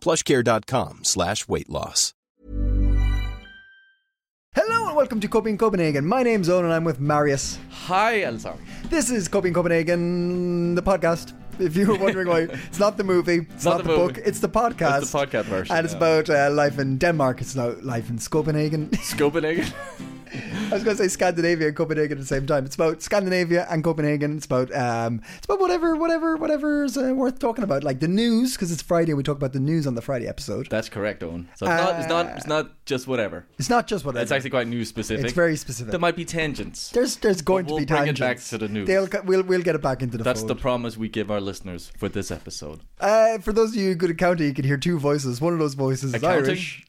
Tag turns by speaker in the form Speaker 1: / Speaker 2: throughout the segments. Speaker 1: Plushcare.com slash weight loss.
Speaker 2: Hello and welcome to Coping Copenhagen. My name's Owen and I'm with Marius.
Speaker 3: Hi, Elsa.
Speaker 2: This is Coping Copenhagen, the podcast. If you were wondering why, it's not the movie, it's, not, the,
Speaker 3: movie.
Speaker 2: book, it's the podcast.
Speaker 3: It's the podcast version,
Speaker 2: And it's
Speaker 3: yeah.
Speaker 2: about uh, life in Denmark. It's not life in Copenhagen.
Speaker 3: Copenhagen.
Speaker 2: I was going to say Scandinavia and Copenhagen at the same time. It's about Scandinavia and Copenhagen. It's about um, it's about whatever, whatever, whatever's uh, worth talking about, like the news, because it's Friday. We talk about the news on the Friday episode.
Speaker 3: That's correct, Owen. So it's, not, it's not it's not just whatever.
Speaker 2: it's not just whatever.
Speaker 3: It's actually quite news specific.
Speaker 2: It's very specific.
Speaker 3: There might be tangents.
Speaker 2: there's there's going
Speaker 3: We'll
Speaker 2: to be
Speaker 3: bring it
Speaker 2: tangents.
Speaker 3: back to the news.
Speaker 2: They'll, we'll we'll get it back into the.
Speaker 3: That's
Speaker 2: fold.
Speaker 3: the promise we give our listeners for this episode.
Speaker 2: Uh, for those of you good at counting, you can hear two voices. One of those voices is
Speaker 3: Accounting?
Speaker 2: Irish.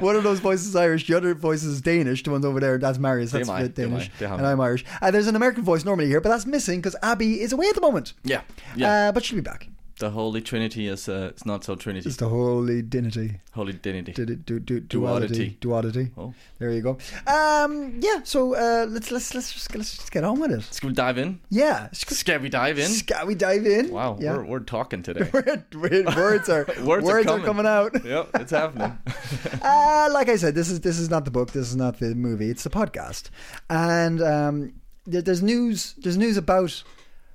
Speaker 2: One of those voices is Irish. The other voice is Danish. The one's over there, that's Marius. That's
Speaker 3: Damn I,
Speaker 2: bit
Speaker 3: damn
Speaker 2: Danish.
Speaker 3: I, damn
Speaker 2: and
Speaker 3: I.
Speaker 2: I'm Irish. Uh, there's an American voice normally here, but that's missing because Abby is away at the moment.
Speaker 3: Yeah, yeah.
Speaker 2: Uh, but she'll be back.
Speaker 3: the Holy Trinity is uh, it's not so Trinity.
Speaker 2: It's the holy dignity.
Speaker 3: Holy Trinity.
Speaker 2: Du- du- du- duality.
Speaker 3: Duality.
Speaker 2: Duality.
Speaker 3: Oh.
Speaker 2: There you go. Um, yeah, so uh, let's let's let's just let's just get on with it.
Speaker 3: Should we dive in?
Speaker 2: Yeah.
Speaker 3: Shall we dive in?
Speaker 2: Shall we dive in?
Speaker 3: Wow,
Speaker 2: Yeah.
Speaker 3: we're, we're talking today.
Speaker 2: words are words,
Speaker 3: Words are
Speaker 2: are
Speaker 3: coming.
Speaker 2: coming out.
Speaker 3: yep, it's happening.
Speaker 2: Uh, like I said, this is this is not the book. This is not the movie. It's the podcast, and um, there, there's news. There's news about.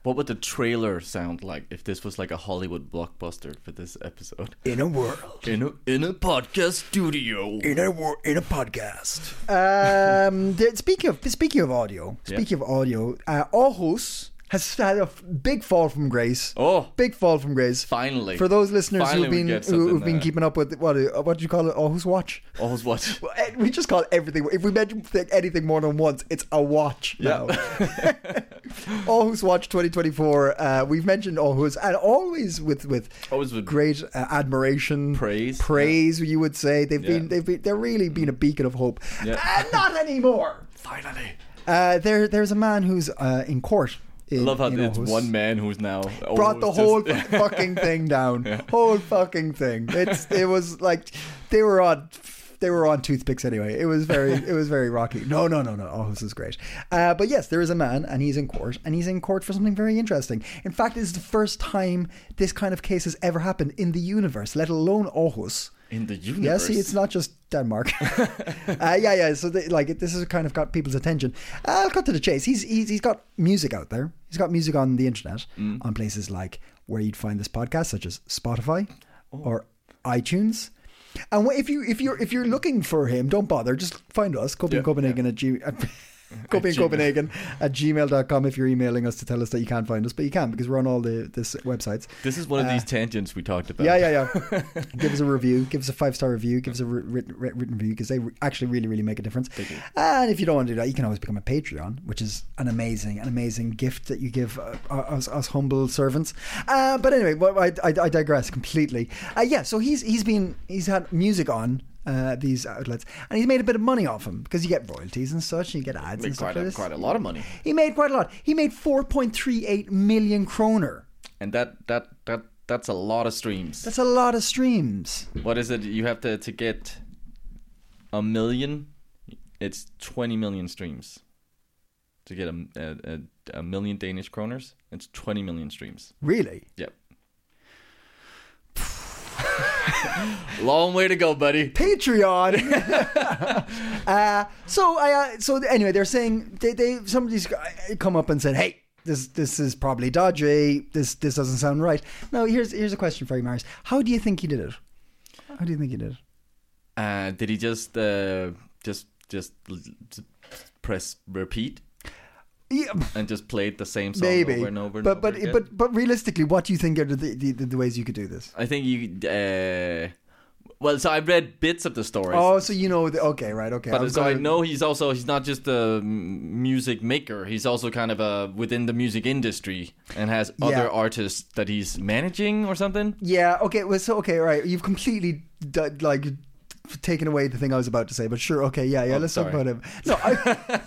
Speaker 3: what would the trailer sound like if this was like a Hollywood blockbuster for this episode?
Speaker 2: In a world,
Speaker 3: In a, in a podcast studio.
Speaker 2: in a world, in a podcast. Um, there- speaking of speaking of audio, speaking of audio, uh, Aarhus has had a f- big fall from grace.
Speaker 3: Oh.
Speaker 2: big fall from grace!
Speaker 3: Finally.
Speaker 2: for those listeners
Speaker 3: Finally
Speaker 2: who've
Speaker 3: we
Speaker 2: been
Speaker 3: get
Speaker 2: who, who've
Speaker 3: something,
Speaker 2: been
Speaker 3: uh,
Speaker 2: keeping up with what uh, what do you call it? Aarhus Watch.
Speaker 3: Always watch.
Speaker 2: Well, eh, We just call it everything. If we mention th- anything more than once, it's a watch now. Aarhus Watch 2024. Uh, we've mentioned Aarhus, and always with with
Speaker 3: Always with-
Speaker 2: great uh, admiration,
Speaker 3: Praise,
Speaker 2: praise. You would say they've been
Speaker 3: Yeah.
Speaker 2: they've been, they're really been a beacon of hope,
Speaker 3: Yeah.
Speaker 2: and not anymore.
Speaker 3: Finally.
Speaker 2: Uh, there there's a man who's uh, in court. In,
Speaker 3: I love how
Speaker 2: in
Speaker 3: it's
Speaker 2: Aarhus.
Speaker 3: one man who's now
Speaker 2: Brought the whole
Speaker 3: Oh, Just,
Speaker 2: fu- fucking thing down, whole fucking thing. It's it was like they were on they were on toothpicks anyway. It was very it was very rocky. No no no no. Oh this is great. Uh, but yes, there is a man and he's in court and he's in court for something very interesting. In fact, it's the first time this kind of case has ever happened in the universe, let alone Aarhus.
Speaker 3: in the universe.
Speaker 2: Yeah, see, it's not just Denmark. uh, yeah, yeah. So, they, like, it- this has kind of got people's attention. Uh, I'll cut to the chase. He's, he's he's got music out there. He's got music on the internet,
Speaker 3: Mm.
Speaker 2: on places like where you'd find this podcast, such as Spotify
Speaker 3: Oh.
Speaker 2: or iTunes. And wh- if you if you're if you're looking for him, don't bother. Just find us, coping
Speaker 3: Yeah,
Speaker 2: Copenhagen at G. At, Copy in
Speaker 3: Gmail.
Speaker 2: Copenhagen at gmail.com if you're emailing us to tell us that you can't find us, but you can because we're on all the this websites.
Speaker 3: This is one of these tangents we talked about.
Speaker 2: Uh, Yeah, yeah, yeah. give us a review. Give us a five star review. Give us a wri- written, writ- written review because they re- actually really, really make a difference. And if you don't want to do that, you can always become a Patreon, which is an amazing, an amazing gift that you give uh, us, us humble servants. Uh, but anyway, well, I, I, I digress completely. Uh, yeah, so he's he's been he's had music on. Uh, these outlets, and he's made a bit of money off them because you get royalties and such, and you get ads and
Speaker 3: Made
Speaker 2: stuff
Speaker 3: quite
Speaker 2: like
Speaker 3: a,
Speaker 2: this.
Speaker 3: quite a lot of money.
Speaker 2: He made quite a lot. He made four point three eight million kroner.
Speaker 3: And that that that that's a lot of streams.
Speaker 2: That's a lot of streams.
Speaker 3: what is it? You have to to get a million. It's twenty million streams to get a a, a, a million Danish kroners. It's twenty million streams.
Speaker 2: Really?
Speaker 3: Yep. Long way to go, buddy.
Speaker 2: Patreon. uh, so I, uh, so anyway, they're saying they, they somebody's uh, come up and said, "Hey, this this is probably dodgy. This this doesn't sound right." Now here's here's a question for you, Marius. How do you think he did it? How do you think he did it?
Speaker 3: Uh, did he just uh, just just l- t- press repeat
Speaker 2: Yeah,
Speaker 3: and just played the same song
Speaker 2: maybe,
Speaker 3: over and over? And
Speaker 2: but
Speaker 3: over
Speaker 2: but
Speaker 3: again?
Speaker 2: but but realistically, what do you think are the the, the, the ways you could do this?
Speaker 3: I think you. Uh, well, so I read bits of the stories.
Speaker 2: Oh, so you know, the, okay, right, okay.
Speaker 3: But
Speaker 2: I'm
Speaker 3: so I
Speaker 2: gonna-
Speaker 3: know he's also he's not just a m- music maker. He's also kind of a within the music industry and has other
Speaker 2: Yeah.
Speaker 3: artists that he's managing or something.
Speaker 2: Yeah. Okay. Well. So okay. Right. You've completely d- like taken away the thing I was about to say, but sure, okay, yeah, yeah,
Speaker 3: Oh,
Speaker 2: let's talk
Speaker 3: sorry.
Speaker 2: about him. No, I,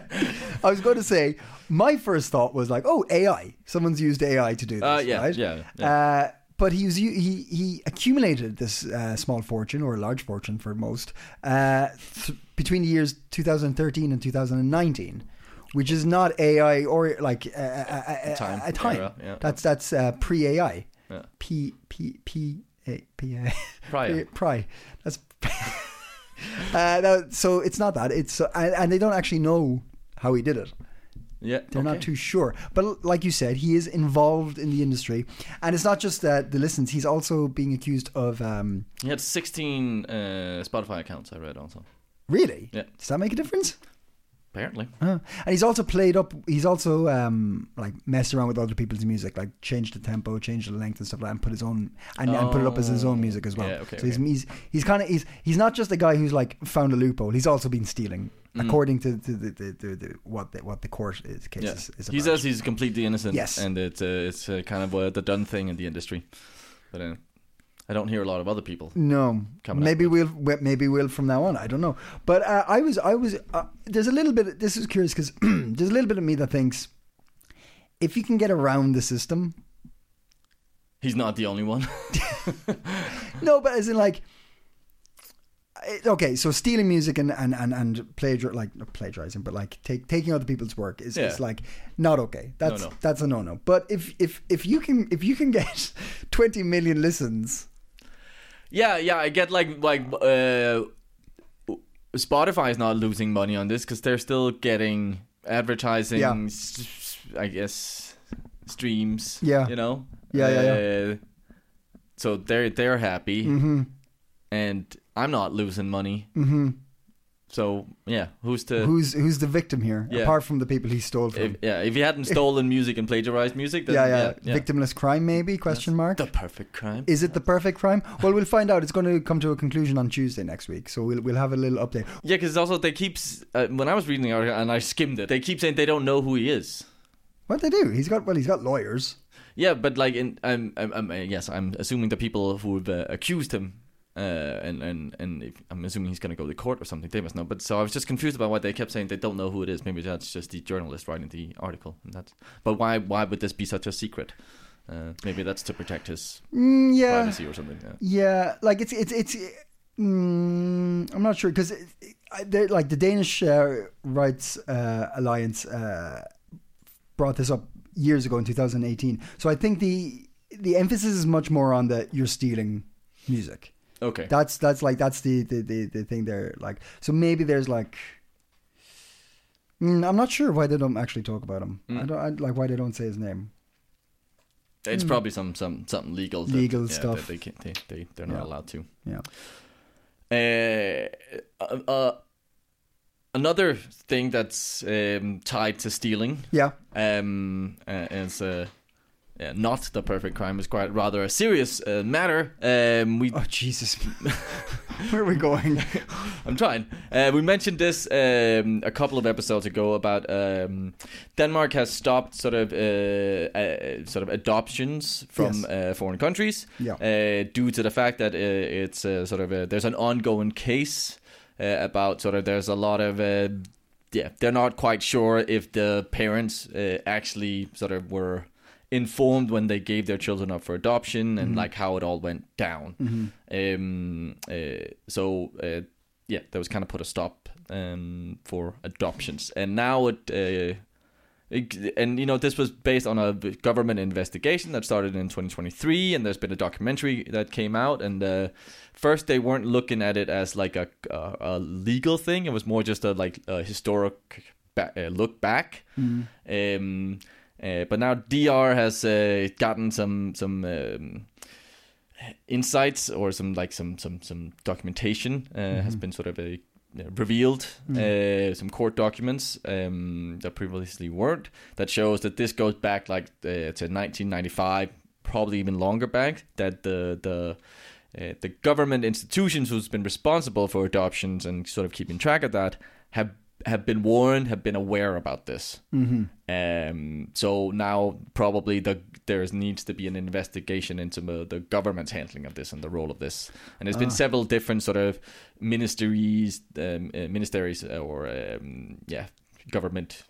Speaker 2: I was going to say my first thought was like, oh, AI. Someone's used AI to do this,
Speaker 3: Uh, yeah,
Speaker 2: right?
Speaker 3: yeah,
Speaker 2: Uh, but he was u- he he accumulated this uh, small fortune or a large fortune for most uh, th- between the years 2013 and 2019, which is not AI or like uh, uh, uh, uh,
Speaker 3: Time,
Speaker 2: A time.
Speaker 3: era, yeah.
Speaker 2: That's that's uh, pre AI.
Speaker 3: Yeah.
Speaker 2: P P P A P A.
Speaker 3: Prior.
Speaker 2: Pri. That's. uh, no, so it's not that. It's uh, and, and they don't actually know how he did it.
Speaker 3: Yeah,
Speaker 2: They're not
Speaker 3: okay.
Speaker 2: too sure. But l- like you said, he is involved in the industry, and it's not just uh, the listens. He's also being accused of. Um,
Speaker 3: He had 16 uh, Spotify accounts. I read also.
Speaker 2: really?
Speaker 3: Yeah.
Speaker 2: Does that make a difference?
Speaker 3: Apparently,
Speaker 2: Huh. And he's also played up. He's also um, like messed around with other people's music, like changed the tempo, changed the length and stuff like that, and put his own and, and put it up as his own
Speaker 3: Oh.
Speaker 2: music as well.
Speaker 3: Yeah, okay,
Speaker 2: so he's
Speaker 3: okay.
Speaker 2: he's he's kind of he's he's not just a guy who's like found a loophole. He's also been stealing,
Speaker 3: Mm.
Speaker 2: according to, to the, the, the, the what the, what the court is case
Speaker 3: yeah.
Speaker 2: is, is about.
Speaker 3: he says he's completely innocent.
Speaker 2: Yes.
Speaker 3: and it's uh, it's uh, kind of uh, the done thing in the industry. But uh, I don't hear a lot of other people.
Speaker 2: No,
Speaker 3: coming up
Speaker 2: maybe we'll we- maybe we'll from now on. I don't know, but uh, I was I was uh, there's a little bit. This is curious because there's a little bit of me that thinks if you can get around the system,
Speaker 3: He's not the only one.
Speaker 2: no, but as in like, it- okay, so stealing music and and and, and plagiar like not plagiarizing, but like take, taking other people's work is, is
Speaker 3: Yeah.
Speaker 2: like not okay. That's
Speaker 3: no.
Speaker 2: that's a no no. But if if if you can if you can get twenty million listens,
Speaker 3: Yeah, yeah, I get like like uh, Spotify is not losing money on this because they're still getting advertising.
Speaker 2: Yeah.
Speaker 3: s- s- I guess streams.
Speaker 2: Yeah.
Speaker 3: you know.
Speaker 2: Yeah, yeah, Mm-hmm.
Speaker 3: Uh, so they're they're happy, and I'm not losing money. Mm-hmm. So yeah, who's to?
Speaker 2: who's who's the victim here
Speaker 3: Yeah.
Speaker 2: apart from the people he stole from?
Speaker 3: if, yeah, if you hadn't stolen music and plagiarized music, then
Speaker 2: Um, yeah, yeah. Victimless crime, maybe? Question mark.
Speaker 3: The perfect crime.
Speaker 2: Is it the perfect crime? Well, we'll find out. It's going to come to a conclusion on Tuesday next week, so we'll we'll have a little update.
Speaker 3: Yeah, because also they keep. s- Uh, when I was reading the article and I skimmed it, they keep saying they don't know who he is.
Speaker 2: What they do? He's got well, he's got lawyers.
Speaker 3: Yeah, but like, in, I'm, I'm, I'm, uh, yes, I'm assuming the people who've uh, accused him, uh, and and and if, I'm assuming he's gonna go to court or something. They must know. But so I was just confused about why they kept saying they don't know who it is. Maybe that's just the journalist writing the article. And that's, but why, why would this be such a secret? Uh, maybe that's to protect his
Speaker 2: Mm, yeah,
Speaker 3: privacy or something. Yeah.
Speaker 2: yeah. Like it's it's it's. Mm, I'm not sure because like the Danish uh, rights uh, alliance uh, brought this up years ago in 2018. So I think the the emphasis is much more on the you're stealing music.
Speaker 3: Okay.
Speaker 2: That's that's like that's the the, the, the thing there. Like so maybe there's like Mm, I'm not sure why they don't actually talk about him. I don't I, like why they don't say his name.
Speaker 3: it's probably some some something legal that-
Speaker 2: Hmm. Legal
Speaker 3: yeah,
Speaker 2: stuff.
Speaker 3: That they can't. They, they they're not
Speaker 2: Yeah.
Speaker 3: allowed to.
Speaker 2: Yeah.
Speaker 3: uh, uh, another thing that's um, tied to stealing
Speaker 2: Yeah.
Speaker 3: um, uh, is uh, yeah, not the perfect crime. It's quite rather a serious uh, matter. Um, we,
Speaker 2: Oh Jesus. Where are we going?
Speaker 3: I'm trying. Uh, we mentioned this um, a couple of episodes ago about um, Denmark has stopped sort of uh, uh, sort of adoptions from
Speaker 2: Yes.
Speaker 3: uh, foreign countries
Speaker 2: Yeah.
Speaker 3: uh, due to the fact that uh, it's uh, sort of a, there's an ongoing case uh, about sort of there's a lot of uh, yeah they're not quite sure if the parents uh, actually sort of were informed when they gave their children up for adoption and like how it all went down um, uh, so uh, yeah that was kind of put a stop um, for adoptions and now it uh, it- and you know this was based on a government investigation that started in 2023 and there's been a documentary that came out and uh, first they weren't looking at it as like a, a, a legal thing it was more just a like a historic ba- uh, look back
Speaker 2: Mm-hmm.
Speaker 3: um, uh, but now dr has uh, gotten some some um, insights or some like some some some documentation uh, has been sort of a revealed uh, some court documents um, that previously weren't that shows that this goes back like uh, to 1995 probably even longer back that the the uh, the government institutions who's been responsible for adoptions and sort of keeping track of that have have been warned, have been aware about this.
Speaker 2: hmm
Speaker 3: Um, so now probably the, there is- needs to be an investigation into the, the government's handling of this and the role of this. And there's been
Speaker 2: Ah.
Speaker 3: several different sort of ministries, um, uh, ministries or um, yeah, government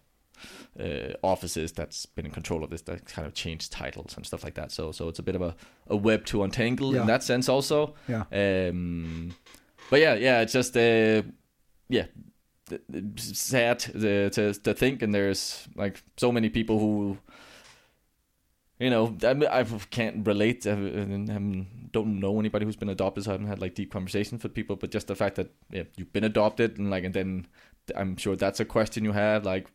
Speaker 3: uh, offices that's been in control of this that kind of changed titles and stuff like that. So so it's a bit of a, a web to untangle
Speaker 2: Yeah.
Speaker 3: in that sense also.
Speaker 2: Yeah.
Speaker 3: Um, but yeah, yeah, it's just uh, yeah, th- th- sad to, to to think, and there's like so many people who, you know, I mean, I can't relate. I, don't know anybody who's been adopted, so I haven't had like deep conversations with people. But just the fact that yeah, you've been adopted, and like, and then I'm sure that's a question you have, like.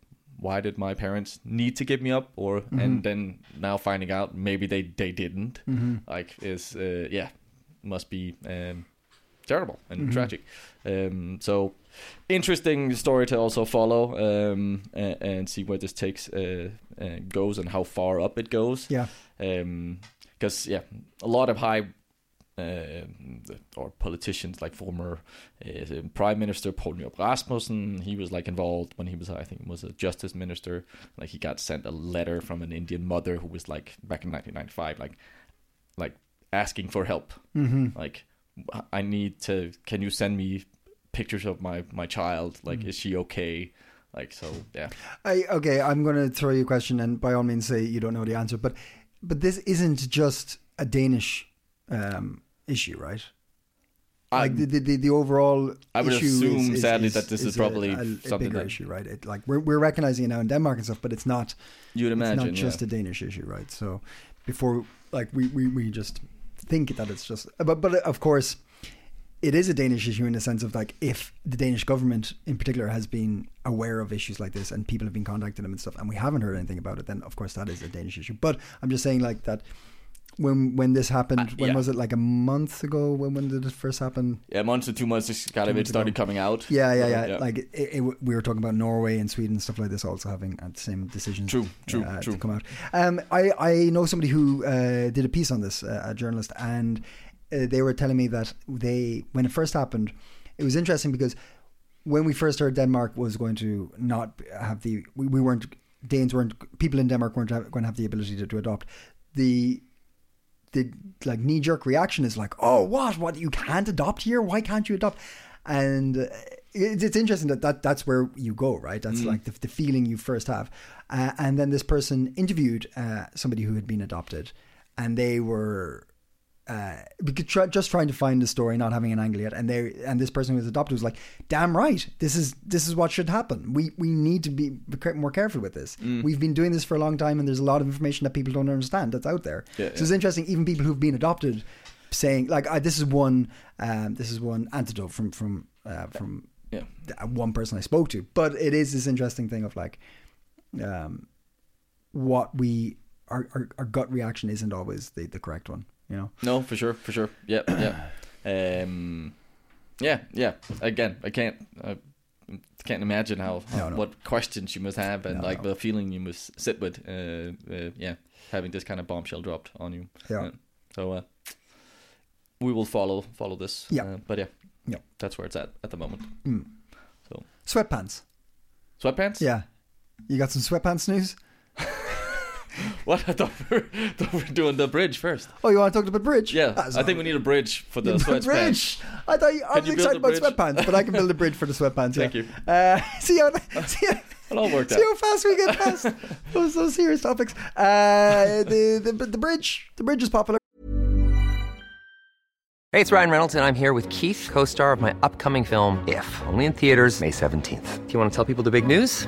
Speaker 3: Why did my parents need to give me up, or
Speaker 2: Mhm.
Speaker 3: and then now finding out maybe they they didn't,
Speaker 2: hmm
Speaker 3: like is uh, yeah must be um, terrible and
Speaker 2: Mhm.
Speaker 3: tragic um, so interesting story to also follow um, and, and see where this takes uh, uh, goes and how far up it goes
Speaker 2: Yeah.
Speaker 3: because Um, yeah a lot of high uh, or politicians like former uh, prime minister Poul Nyrup Rasmussen he was like involved when he was I think was a justice minister like he got sent a letter from an Indian mother who was like back in 1995 like like asking for help
Speaker 2: hmm
Speaker 3: like i need to can you send me pictures of my my child like
Speaker 2: Hmm.
Speaker 3: is she okay like so yeah
Speaker 2: I, okay, I'm going to throw you a question, and by all means, say you don't know the answer. But but this isn't just a Danish um, issue, right? like
Speaker 3: Um,
Speaker 2: the, the, the, the overall
Speaker 3: I would
Speaker 2: issue
Speaker 3: assume,
Speaker 2: is- is-
Speaker 3: sadly, that this is
Speaker 2: a-
Speaker 3: probably
Speaker 2: a, a
Speaker 3: something
Speaker 2: bigger
Speaker 3: that-
Speaker 2: issue, right? It, like we're, we're recognizing it now in Denmark and stuff, but it's not
Speaker 3: you'd imagine
Speaker 2: it's not just
Speaker 3: yeah.
Speaker 2: a Danish issue, right? So before like we, we, we just think that it's just but but of course it is a Danish issue in the sense of like if the Danish government in particular has been aware of issues like this and people have been contacting them and stuff and we haven't heard anything about it, then of course that is a Danish issue. But I'm just saying like that when when this happened,
Speaker 3: Uh,
Speaker 2: when
Speaker 3: yeah.
Speaker 2: was it like a month ago? When when did it first happen?
Speaker 3: yeah months or two months it's kind of
Speaker 2: Two
Speaker 3: it
Speaker 2: months
Speaker 3: started
Speaker 2: ago.
Speaker 3: coming out
Speaker 2: Yeah, yeah, yeah.
Speaker 3: Yeah.
Speaker 2: Like it, it, we were talking about Norway and Sweden and stuff like this, also having uh, the same decisions.
Speaker 3: True, true,
Speaker 2: uh,
Speaker 3: true.
Speaker 2: To come out, um, I I know somebody who uh, did a piece on this, uh, a journalist, and uh, they were telling me that they when it first happened, it was interesting because when we first heard Denmark was going to not have the we, we weren't Danes weren't people in Denmark weren't going to have the ability to, to adopt the the like knee jerk reaction is like, oh, what, what, you can't adopt here? Why can't you adopt? And uh, it's, it's interesting that, that that's where you go, right? That's like the, the feeling you first have. Uh, and then this person interviewed uh, somebody who had been adopted, and they were uh, because try, just trying to find the story, not having an angle yet, and they and this person who was adopted was like, "Damn right, this is this is what should happen. We we need to be ca- more careful with this.
Speaker 3: Mm.
Speaker 2: We've been doing this for a long time, and there's a lot of information that people don't understand that's out there.
Speaker 3: Yeah,
Speaker 2: so it's interesting, even people who've been adopted, saying like, I, "This is one, um, this is one antidote from from uh, from
Speaker 3: yeah
Speaker 2: th- one person I spoke to." But it is this interesting thing of like, um, what we our, our our gut reaction isn't always the the correct one, you know.
Speaker 3: no for sure for sure yeah yeah um yeah yeah again i can't I can't imagine how, how
Speaker 2: No, no.
Speaker 3: what questions you must have and
Speaker 2: No,
Speaker 3: like
Speaker 2: no.
Speaker 3: the feeling you must sit with uh, uh yeah having this kind of bombshell dropped on you
Speaker 2: Yeah.
Speaker 3: Yeah. So uh, we will follow follow this.
Speaker 2: Yeah.
Speaker 3: Uh, but yeah.
Speaker 2: Yeah.
Speaker 3: That's where it's at at the moment.
Speaker 2: Mm.
Speaker 3: So
Speaker 2: Sweatpants.
Speaker 3: sweatpants.
Speaker 2: Yeah. You got some sweatpants news?
Speaker 3: What? I thought we were, thought we were doing the bridge first.
Speaker 2: Oh, you want to talk about bridge?
Speaker 3: Yeah.
Speaker 2: That's
Speaker 3: I think
Speaker 2: not-
Speaker 3: we need a bridge for the
Speaker 2: You built
Speaker 3: sweatpants.
Speaker 2: bridge. I thought you, I
Speaker 3: Can
Speaker 2: was
Speaker 3: you build
Speaker 2: excited about
Speaker 3: a
Speaker 2: sweatpants, but I can build a bridge for the sweatpants.
Speaker 3: Thank
Speaker 2: yeah.
Speaker 3: you.
Speaker 2: Uh, see how see how,
Speaker 3: It all worked
Speaker 2: see
Speaker 3: out.
Speaker 2: how fast we get past those, those serious topics. Uh, the, the the bridge the bridge is popular.
Speaker 4: Hey, it's Ryan Reynolds, and I'm here with Keith, co star of my upcoming film, If, only in theaters, May 17th. Do you want to tell people the big news?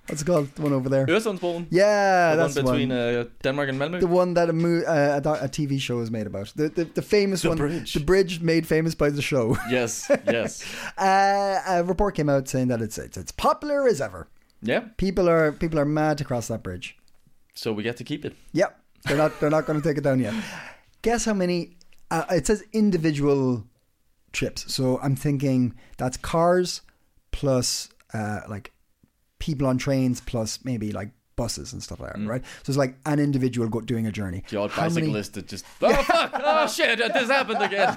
Speaker 2: what's it called? The one over there.
Speaker 3: Øresundsbroen.
Speaker 2: Yeah,
Speaker 3: The
Speaker 2: that's
Speaker 3: one between
Speaker 2: one.
Speaker 3: Uh, Denmark and Malmö.
Speaker 2: the one that a, mo- uh, a, doc- a TV show is made about. The the, the famous
Speaker 3: The
Speaker 2: one.
Speaker 3: bridge.
Speaker 2: The bridge made famous by the show.
Speaker 3: yes. Yes.
Speaker 2: Uh, a report came out saying that it's it's, it's popular as ever.
Speaker 3: Yeah.
Speaker 2: People are people are mad to cross that bridge.
Speaker 3: So we get to keep it.
Speaker 2: Yep, they're not they're not going to take it down yet. Guess how many? Uh, it says individual trips, so I'm thinking that's cars plus uh, like people on trains plus maybe like buses and stuff like that, right? So it's like an individual go- doing a journey.
Speaker 3: Mm. The odd
Speaker 2: How many-
Speaker 3: bicyclist that just oh fuck oh shit this happened again.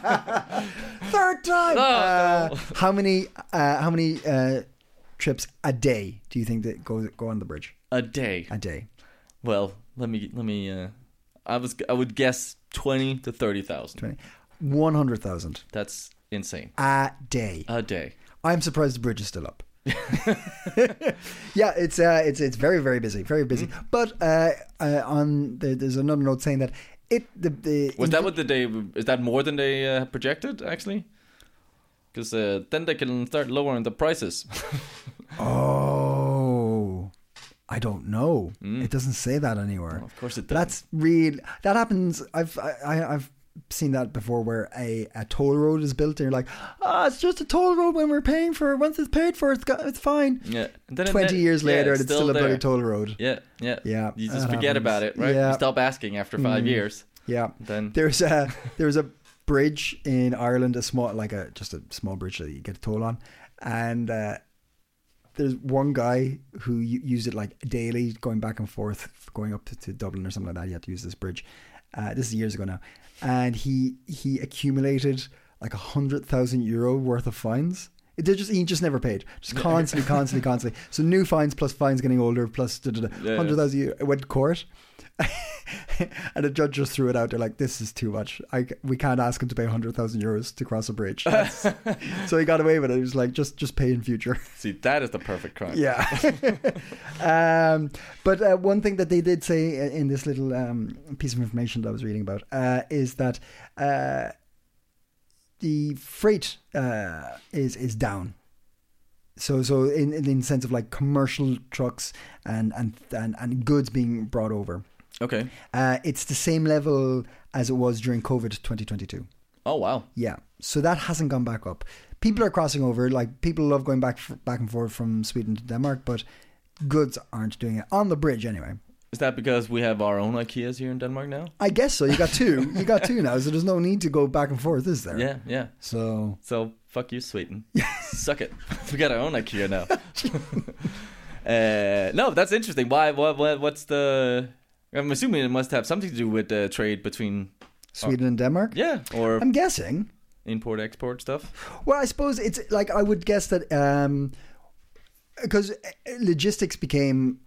Speaker 2: Third time.
Speaker 3: No.
Speaker 2: Uh, how many? Uh, how many uh, trips a day do you think that go go on the bridge
Speaker 3: A day.
Speaker 2: a day?
Speaker 3: Well, let me let me. Uh, I was I would guess twenty to thirty thousand.
Speaker 2: One hundred thousand
Speaker 3: That's insane.
Speaker 2: a day.
Speaker 3: A day.
Speaker 2: I'm surprised the bridge is still up. yeah, it's uh, it's it's very very busy, very busy.
Speaker 3: Mm-hmm.
Speaker 2: But uh, uh, on the, there's another note saying that it the, the
Speaker 3: Was that what the day? Is that more than they uh, projected actually? Because uh, then they can start lowering the prices.
Speaker 2: Oh, I don't know. It doesn't say that anywhere.
Speaker 3: Mm. of course it
Speaker 2: But That's real. That happens. I've I, I- I've seen that before, where a, a toll road is built, and you're like, ah, it's just a toll road when we're paying for it. Once it's paid for, it's got, it's fine.
Speaker 3: yeah. And then it-
Speaker 2: Twenty years
Speaker 3: yeah,
Speaker 2: later, and it's still a bloody
Speaker 3: there.
Speaker 2: toll road.
Speaker 3: Yeah, yeah,
Speaker 2: Yeah,
Speaker 3: You just
Speaker 2: that
Speaker 3: forget
Speaker 2: happens.
Speaker 3: about it, right?
Speaker 2: Yeah. Mm.
Speaker 3: You stop asking after five years.
Speaker 2: Yeah.
Speaker 3: Then-
Speaker 2: there's a there's a bridge in Ireland, a small like a just a small bridge that you get a toll on, and uh, there's one guy who u- used it like daily, going back and forth, going up to, to Dublin or something like that. He had to use this bridge. Uh, this is years ago now, and he he accumulated like a hundred thousand euro worth of fines. It did just he just never paid, just constantly, constantly, constantly. So new fines plus fines getting older plus da, da, da,
Speaker 3: Yeah, yeah.
Speaker 2: hundred thousand euro. It went to court, and the judge just threw it out. They're like, "This is too much. I, we can't ask him to pay hundred thousand euros to cross a bridge." That's- so he got away with it. He was like, "Just, just pay in future."
Speaker 3: See, that is the perfect crime.
Speaker 2: yeah. um, but uh, one thing that they did say i- in this little um, piece of information that I was reading about uh, is that uh, the freight uh, is is down. So, so in, in the sense of like commercial trucks and and and, and goods being brought over.
Speaker 3: Okay.
Speaker 2: Uh, it's the same level as it was during COVID 2022.
Speaker 3: Oh wow.
Speaker 2: Yeah, so that hasn't gone back up. People are crossing over. Like people love going back f- back and forth from Sweden to Denmark, but goods aren't doing it on the bridge anyway.
Speaker 3: Is that because we have our own IKEAs here in Denmark now?
Speaker 2: I guess so. You got two. you got two now, so there's no need to go back and forth, is there?
Speaker 3: Yeah, Uh, yeah.
Speaker 2: So
Speaker 3: So fuck you, Sweden. Suck it. We got our own IKEA now. uh, no, that's interesting. Why? What? What? What's the? I'm assuming it must have something to do with uh, trade between.
Speaker 2: Sweden and Denmark.
Speaker 3: Yeah, or
Speaker 2: I'm guessing.
Speaker 3: import export stuff.
Speaker 2: Well, I suppose it's like I would guess that um because logistics became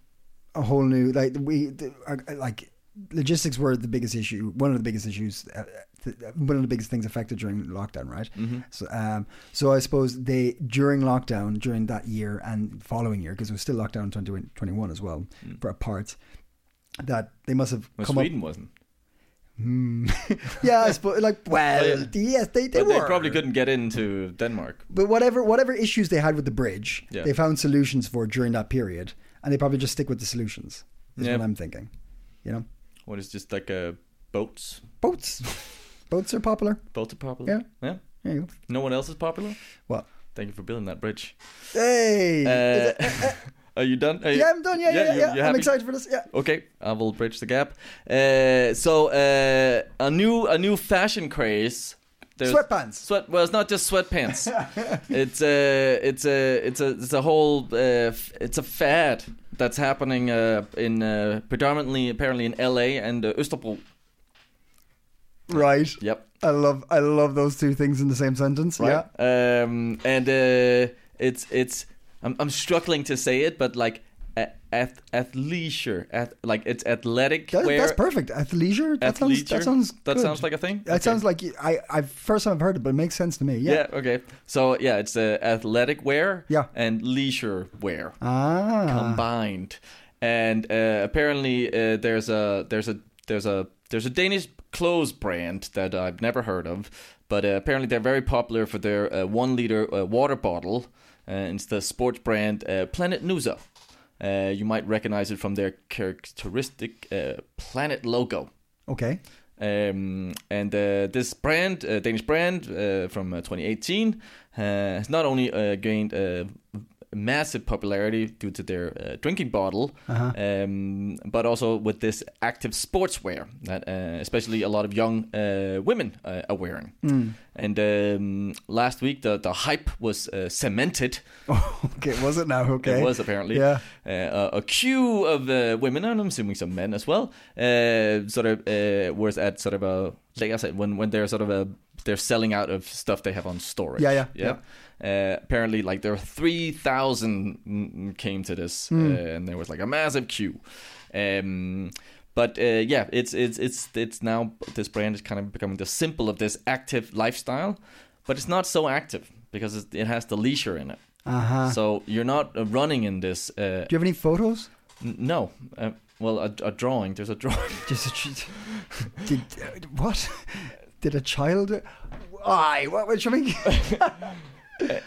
Speaker 2: a whole new like we the- uh, like logistics were the biggest issue one of the biggest issues uh, th- one of the biggest things affected during lockdown right
Speaker 3: Mm-hmm.
Speaker 2: so um so i suppose they during lockdown during that year and following year because it was still lockdown in 2021 as well for parts that they must have
Speaker 3: Well,
Speaker 2: come
Speaker 3: Mm. Sweden
Speaker 2: up
Speaker 3: wasn't.
Speaker 2: yeah i suppose like well
Speaker 3: Oh, yeah.
Speaker 2: yes they, they
Speaker 3: But
Speaker 2: were
Speaker 3: they probably couldn't get into Denmark.
Speaker 2: but whatever whatever issues they had with the bridge,
Speaker 3: Yeah.
Speaker 2: they found solutions for during that period, and they probably just stick with the solutions. Is
Speaker 3: Yeah.
Speaker 2: what I'm thinking. You know,
Speaker 3: What is just like uh, boats?
Speaker 2: boats, boats are popular.
Speaker 3: Boats are popular. Yeah. Yeah.
Speaker 2: There you go.
Speaker 3: No one else is popular.
Speaker 2: What?
Speaker 3: Thank you for building that bridge.
Speaker 2: Hey,
Speaker 3: Uh, are you done? Are you-
Speaker 2: yeah, I'm done. Yeah, yeah, yeah.
Speaker 3: you- you
Speaker 2: I'm
Speaker 3: happy?
Speaker 2: excited for this. Yeah.
Speaker 3: Okay, I will bridge the gap. Uh, so uh, a new a new fashion craze. There's
Speaker 2: Sweatpants.
Speaker 3: Sweat. Well, it's not just sweatpants. it's a it's a it's a it's a whole uh, f- it's a fad that's happening uh, in uh, predominantly apparently in L.A. and uh, Istanbul.
Speaker 2: Right.
Speaker 3: Yep.
Speaker 2: I love I love those two things in the same sentence.
Speaker 3: right? Um, and uh, it's it's I'm, I'm struggling to say it, but like a- ath- athleisure, ath- like it's athletic
Speaker 2: That,
Speaker 3: wear.
Speaker 2: that's perfect. Athleisure. That sounds. That
Speaker 3: Athleisure?
Speaker 2: sounds.
Speaker 3: That
Speaker 2: good.
Speaker 3: sounds like a thing?
Speaker 2: That
Speaker 3: Okay.
Speaker 2: sounds like you- I. I first time I've heard it, but it makes sense to me. Yeah.
Speaker 3: Yeah. Okay. So yeah, it's uh, athletic wear.
Speaker 2: Yeah.
Speaker 3: And leisure wear
Speaker 2: Ah.
Speaker 3: combined. And uh, apparently uh, there's a there's a there's a there's a Danish clothes brand that I've never heard of, but uh, apparently they're very popular for their uh, one liter uh, water bottle. And it's the sports brand uh, Planet Nusa. Uh, you might recognize it from their characteristic uh, planet logo.
Speaker 2: Okay.
Speaker 3: Um, and uh, this brand, uh, Danish brand uh, from uh, 2018, uh, has not only uh, gained uh, massive popularity due to their uh, drinking bottle, um, but also with this active sportswear that uh, especially a lot of young uh, women uh, are wearing. And um, last week, the, the hype was uh, cemented.
Speaker 2: okay, was it now? Okay,
Speaker 3: It was apparently
Speaker 2: Yeah.
Speaker 3: uh, a, a queue of uh, women, and I'm assuming some men as well. Uh, sort of uh, was at sort of a like I said when when they're sort of a they're selling out of stuff they have on storage.
Speaker 2: Yeah, yeah,
Speaker 3: Uh, apparently, like there were three thousand came to this, uh, and there was like a massive queue. Um, but uh, yeah, it's it's it's it's now this brand is kind of becoming the symbol of this active lifestyle, but it's not so active because it, it has the leisure in it.
Speaker 2: Uh-huh.
Speaker 3: So you're not uh, running in this. Uh,
Speaker 2: Do you have any photos?
Speaker 3: n- no. Uh, well, a, a drawing. There's a drawing.
Speaker 2: Just a ch- did uh, what? Did a child? Why? What was you mean?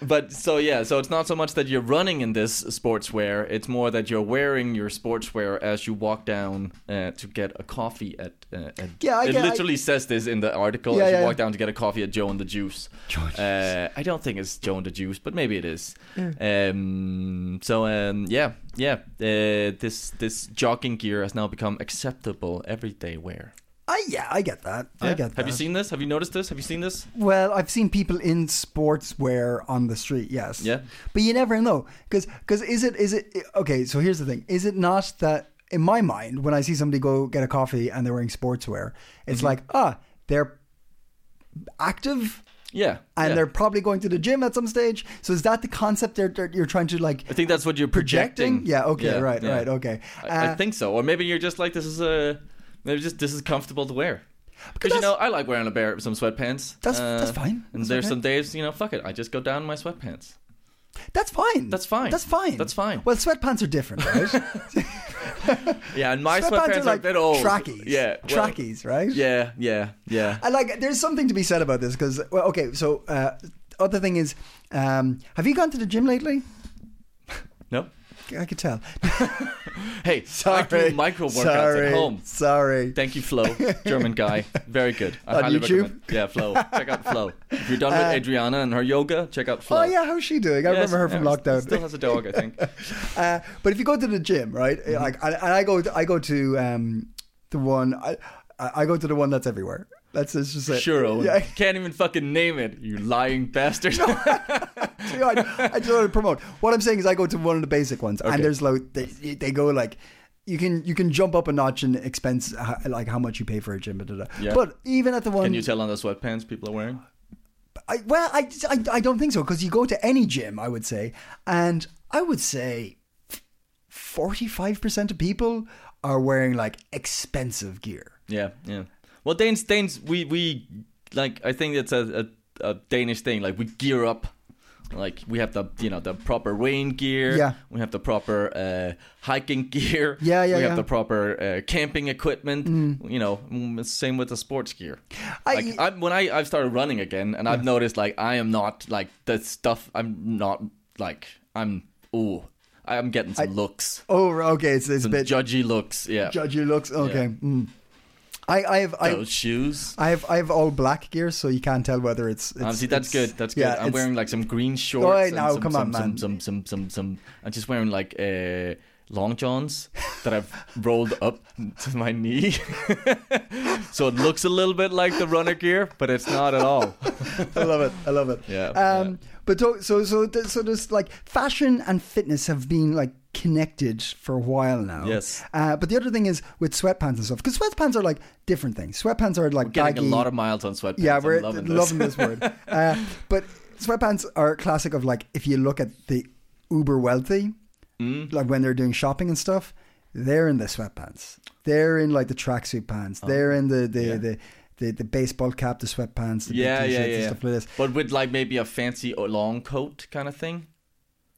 Speaker 3: but so yeah, so it's not so much that you're running in this sportswear. It's more that you're wearing your sportswear as you walk down uh, to get a coffee at. Uh, at
Speaker 2: Yeah, I
Speaker 3: it
Speaker 2: get- I-
Speaker 3: literally says this in the article.
Speaker 2: Yeah,
Speaker 3: as you
Speaker 2: yeah,
Speaker 3: walk
Speaker 2: yeah.
Speaker 3: down to get a coffee at Joe and the Juice.
Speaker 2: Joe and the
Speaker 3: Uh, I don't think it's Joe and the Juice, but maybe it is. Um, so um, yeah, yeah. Uh, this this jogging gear has now become acceptable everyday wear.
Speaker 2: I, yeah, I get that. I
Speaker 3: Yeah.
Speaker 2: get
Speaker 3: Have
Speaker 2: that.
Speaker 3: you seen this? Have you noticed this? Have you seen this?
Speaker 2: Well, I've seen people in sportswear on the street. Yes.
Speaker 3: Yeah.
Speaker 2: But you never know, because is it is it okay? So here's the thing: is it not that in my mind when I see somebody go get a coffee and they're wearing sportswear, it's
Speaker 3: Mm-hmm.
Speaker 2: like ah, they're active
Speaker 3: Yeah.
Speaker 2: and
Speaker 3: yeah.
Speaker 2: they're probably going to the gym at some stage. So is that the concept they're, they're- you're trying to like?
Speaker 3: I think that's what you're projecting.
Speaker 2: Yeah. Okay.
Speaker 3: Yeah,
Speaker 2: right.
Speaker 3: yeah.
Speaker 2: Right. Okay.
Speaker 3: I, I
Speaker 2: Uh,
Speaker 3: think so. Or maybe you're just like this is a maybe just this is comfortable to wear. Because
Speaker 2: that's-
Speaker 3: you know, I like wearing a pair some sweatpants. uh,
Speaker 2: That's- that's fine.
Speaker 3: And
Speaker 2: That's
Speaker 3: there's
Speaker 2: okay.
Speaker 3: some days, you know, fuck it, I just go down in my sweatpants.
Speaker 2: that's fine.
Speaker 3: That's fine.
Speaker 2: That's fine.
Speaker 3: That's fine.
Speaker 2: Well, sweatpants are different, right?
Speaker 3: Yeah, and my sweatpants,
Speaker 2: sweatpants
Speaker 3: are,
Speaker 2: are like
Speaker 3: a bit old.
Speaker 2: trackies.
Speaker 3: Yeah, well,
Speaker 2: Trackies, right?
Speaker 3: Yeah, yeah, yeah.
Speaker 2: I like. There's something to be said about this because, well, okay. So, uh, other thing is, um, have you gone to the gym lately?
Speaker 3: no.
Speaker 2: I could tell.
Speaker 3: Hey, I do
Speaker 2: Sorry,
Speaker 3: micro workouts
Speaker 2: sorry,
Speaker 3: at home.
Speaker 2: Sorry.
Speaker 3: Thank you, Flo, German guy. Very good. I
Speaker 2: On
Speaker 3: highly
Speaker 2: YouTube? Uh,
Speaker 3: recommend. Yeah, Flo. Check out Flo. If you're done with Adriana and her yoga, check out Flo.
Speaker 2: Oh yeah, how's she doing? I
Speaker 3: Yes,
Speaker 2: remember her from
Speaker 3: yeah,
Speaker 2: lockdown.
Speaker 3: Still has a dog, I think.
Speaker 2: Uh, but if you go to the gym, right?
Speaker 3: Mm-hmm.
Speaker 2: Like, and, and I go, I go to um, the one. I, I go to the one that's everywhere. That's that's just it.
Speaker 3: Sure, Owen.
Speaker 2: Yeah.
Speaker 3: Can't even fucking name it, you lying bastard.
Speaker 2: You know, I, I just want to promote. What I'm saying is, I go to one of the basic ones, and there's like they, they go like you can you can jump up a notch in expense, ho- like how much you pay for a gym. Da, da, da.
Speaker 3: Yeah.
Speaker 2: But even at the one,
Speaker 3: Can you tell on the sweatpants people are wearing?
Speaker 2: I, well, I, I I don't think so because you go to any gym, I would say, and I would say forty five percent of people are wearing like expensive gear.
Speaker 3: Yeah, yeah. Well, Danes, Danes, we we like. I think it's a, a, a Danish thing. Like we gear up. Like we have the you know the proper rain gear.
Speaker 2: Yeah.
Speaker 3: We have the proper uh, hiking gear.
Speaker 2: Yeah, yeah,
Speaker 3: We have
Speaker 2: yeah.
Speaker 3: the proper uh, camping equipment. You know, mm, it's same with the sports gear.
Speaker 2: I-
Speaker 3: like I, when I I've started running again, and I've noticed like I am not like the stuff. I'm not like I'm ooh. I'm getting some looks,
Speaker 2: Oh, okay, it's, it's a
Speaker 3: some
Speaker 2: bit
Speaker 3: judgy looks. Yeah.
Speaker 2: judge your looks. Okay, mm. I I have I,
Speaker 3: Those shoes.
Speaker 2: I have I have all black gear, so you can't tell whether it's. it's
Speaker 3: Um, see, that's
Speaker 2: it's-
Speaker 3: good. That's good. I'm
Speaker 2: it's-
Speaker 3: wearing like some green shorts.
Speaker 2: Oh,
Speaker 3: and
Speaker 2: now,
Speaker 3: some,
Speaker 2: come
Speaker 3: some,
Speaker 2: on,
Speaker 3: some,
Speaker 2: man.
Speaker 3: Some, some, some, some, I'm just wearing like uh, long johns that I've rolled up to my knee, so it looks a little bit like the runner gear, but it's not at all.
Speaker 2: I love it. I love it.
Speaker 3: Yeah,
Speaker 2: Um, But so so so th- so there's like fashion and fitness have been like connected for a while now.
Speaker 3: Yes.
Speaker 2: Uh, but the other thing is with sweatpants and stuff because sweatpants are like different things. Sweatpants are like
Speaker 3: Getting
Speaker 2: baggy.
Speaker 3: a lot of miles on sweatpants.
Speaker 2: yeah,
Speaker 3: I'm
Speaker 2: we're
Speaker 3: loving
Speaker 2: loving,
Speaker 3: this.
Speaker 2: this word. Uh, but sweatpants are classic of like if you look at the uber wealthy,
Speaker 3: Mm.
Speaker 2: like when they're doing shopping and stuff, they're in the sweatpants. They're in like the tracksuit pants.
Speaker 3: Oh,
Speaker 2: They're in the the, the the the baseball cap, the sweatpants, the big
Speaker 3: Yeah,
Speaker 2: t-shirts
Speaker 3: yeah,
Speaker 2: and
Speaker 3: yeah.
Speaker 2: stuff like this.
Speaker 3: But with like maybe a fancy or long coat kind of thing.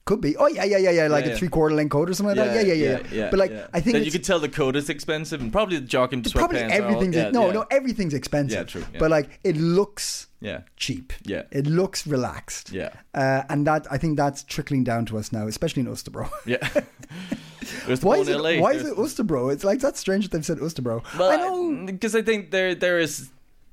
Speaker 2: Could be. Oh yeah, yeah, yeah, yeah. Like
Speaker 3: Yeah,
Speaker 2: a
Speaker 3: yeah.
Speaker 2: three quarter length coat or something like that. Uh, Yeah, yeah, yeah. but like I think
Speaker 3: Then
Speaker 2: it's,
Speaker 3: you could tell the coat is expensive, and probably the jogging sweatpants.
Speaker 2: probably
Speaker 3: are all-
Speaker 2: everything's
Speaker 3: yeah,
Speaker 2: no,
Speaker 3: yeah.
Speaker 2: no, everything's expensive.
Speaker 3: Yeah, true, yeah.
Speaker 2: But like it looks
Speaker 3: Yeah.
Speaker 2: cheap.
Speaker 3: Yeah.
Speaker 2: It looks relaxed.
Speaker 3: Yeah.
Speaker 2: Uh, and that I think that's trickling down to us now, especially in Osterbro.
Speaker 3: Yeah. There's
Speaker 2: why
Speaker 3: one
Speaker 2: is it
Speaker 3: in LA.
Speaker 2: why is
Speaker 3: There's-
Speaker 2: it Osterbro? It's like that's strange that they've said Osterbro.
Speaker 3: Well,
Speaker 2: I know
Speaker 3: because I think there there is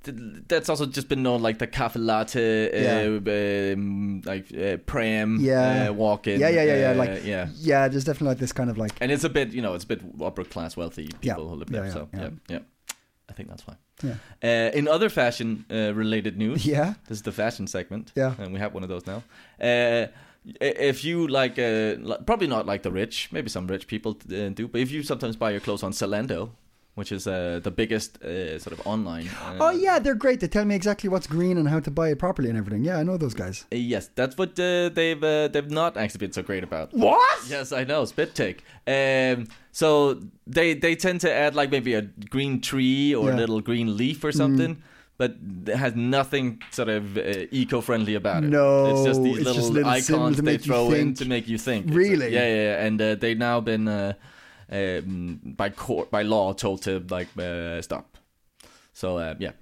Speaker 3: th- that's also just been known like the cafe latte, uh, um, like uh, pram,
Speaker 2: Yeah.
Speaker 3: uh, walk-in,
Speaker 2: yeah, yeah, yeah, yeah.
Speaker 3: uh,
Speaker 2: Like,
Speaker 3: yeah.
Speaker 2: yeah. there's definitely like this kind of like,
Speaker 3: And it's a bit, you know, it's a bit upper class, wealthy people
Speaker 2: Yeah.
Speaker 3: who live
Speaker 2: Yeah,
Speaker 3: there.
Speaker 2: yeah,
Speaker 3: so yeah.
Speaker 2: yeah.
Speaker 3: yeah, I think that's why.
Speaker 2: yeah,
Speaker 3: Uh, in other fashion uh, related news,
Speaker 2: yeah,
Speaker 3: this is the fashion segment.
Speaker 2: Yeah.
Speaker 3: and we have one of those now. Uh, i- if you like, uh, li- probably not like the rich, maybe some rich people uh, do, but if you sometimes buy your clothes on Zalando, which is uh, the biggest uh, sort of online. Uh,
Speaker 2: Oh yeah, they're great. They tell me exactly what's green and how to buy it properly and everything. Yeah, I know those guys.
Speaker 3: uh, Yes, that's what uh, they've uh, they've not actually been so great about.
Speaker 2: What?
Speaker 3: Yes, I know. Spit take. Um, so they they tend to add like maybe a green tree or a
Speaker 2: Yeah. Mm.
Speaker 3: little green leaf or something, but it has nothing sort of uh, eco-friendly about it.
Speaker 2: No,
Speaker 3: it's just these
Speaker 2: it's
Speaker 3: little,
Speaker 2: just little
Speaker 3: icons
Speaker 2: symbols to
Speaker 3: they
Speaker 2: make you
Speaker 3: throw in
Speaker 2: think.
Speaker 3: to make you think. It's
Speaker 2: Really?
Speaker 3: like- yeah, yeah, yeah. And uh, they've now been uh, um, by court by law told to like uh, stop. So uh, yeah,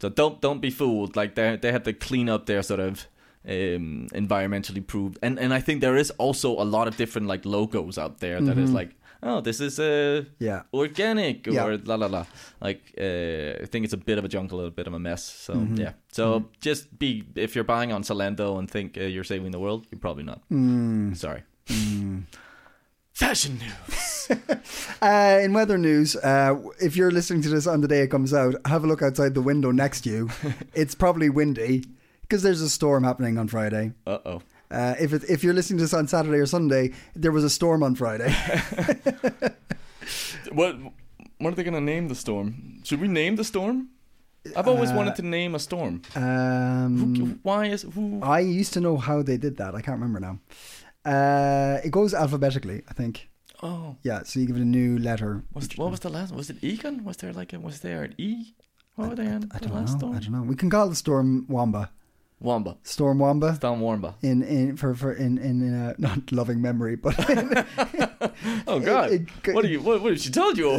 Speaker 3: so don't don't be fooled. Like they they have to clean up their sort of um, environmentally proved, and and I think there is also a lot of different like logos out there that is like, oh, this is uh,
Speaker 2: Mm-hmm. Yeah.
Speaker 3: organic or
Speaker 2: Yeah.
Speaker 3: la la la. Like uh, I think it's a bit of a jungle, a bit of a mess. So
Speaker 2: Mm-hmm.
Speaker 3: yeah, so just be if you're buying on Zalando and think uh, you're saving the world, you're probably not.
Speaker 2: Mm.
Speaker 3: Sorry. Fashion news.
Speaker 2: Uh, in weather news, uh, if you're listening to this on the day it comes out, have a look outside the window next to you. it's probably windy because there's a storm happening on Friday.
Speaker 3: Uh oh.
Speaker 2: Uh, if it, if you're listening to this on Saturday or Sunday, there was a storm on Friday.
Speaker 3: What what are they gonna name the storm? Should we name the storm? I've always wanted
Speaker 2: Uh,
Speaker 3: to name a storm.
Speaker 2: Um,
Speaker 3: Why is who?
Speaker 2: I used to know how they did that. I can't remember now. Uh, it goes alphabetically, I think.
Speaker 3: Oh,
Speaker 2: Yeah, so you give it a new letter.
Speaker 3: was, what was the last? Was it Egon? Was there like a, was there an E? What were they on
Speaker 2: I
Speaker 3: the
Speaker 2: don't
Speaker 3: last
Speaker 2: know.
Speaker 3: storm?
Speaker 2: I don't know. We can call the storm Wamba.
Speaker 3: Wamba,
Speaker 2: Storm Wamba.
Speaker 3: Storm Wamba.
Speaker 2: in in for for in in, in a not loving memory, but
Speaker 3: Oh God!
Speaker 2: it- it-
Speaker 3: what are you? What, what did she tell you?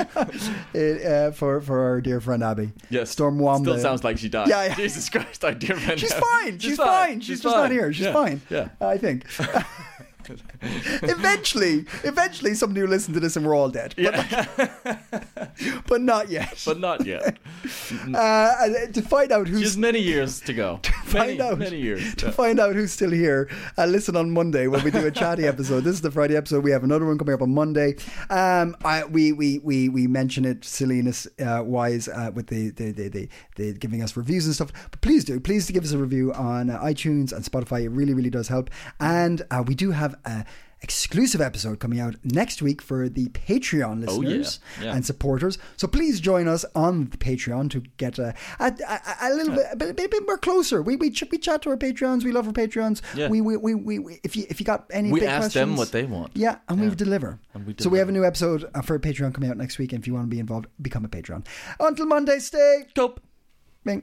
Speaker 2: it, uh, for for our dear friend Abby.
Speaker 3: yes,
Speaker 2: Storm Wamba.
Speaker 3: Still sounds like she died.
Speaker 2: Yeah, yeah.
Speaker 3: Jesus Christ! I did.
Speaker 2: She's fine. She's, fine. She's, just not here. She's
Speaker 3: yeah.
Speaker 2: fine.
Speaker 3: Yeah.
Speaker 2: I think. eventually, eventually, somebody will listen to this and we're all dead. But, like- but not yet.
Speaker 3: But not yet.
Speaker 2: uh, and to find out who's
Speaker 3: Just many years to go.
Speaker 2: find
Speaker 3: many,
Speaker 2: out
Speaker 3: Many years.
Speaker 2: to
Speaker 3: Yeah.
Speaker 2: find out who's still here. Uh, listen on Monday when we do a chatty episode. This is the Friday episode. We have another one coming up on Monday. Um, I, we we we we mention it silliness uh, wise uh, with the the, the the the giving us reviews and stuff. But please do please give us a review on uh, iTunes and Spotify. It really really does help. And uh, we do have a. Exclusive episode coming out next week for the Patreon
Speaker 3: Oh, yeah.
Speaker 2: listeners
Speaker 3: Yeah.
Speaker 2: and supporters. So please join us on the Patreon to get a a, a, a little bit, a bit, a bit more closer. We we, ch- we chat to our Patreons. We love our Patreons.
Speaker 3: Yeah.
Speaker 2: We, we, we, we, we if you if you got any
Speaker 3: We
Speaker 2: big
Speaker 3: ask them
Speaker 2: questions-
Speaker 3: what they want.
Speaker 2: Yeah, and we deliver.
Speaker 3: we
Speaker 2: So we have a new episode uh, for Patreon coming out next week. And if you want to be involved, become a Patreon. Until Monday, stay dope. Bing.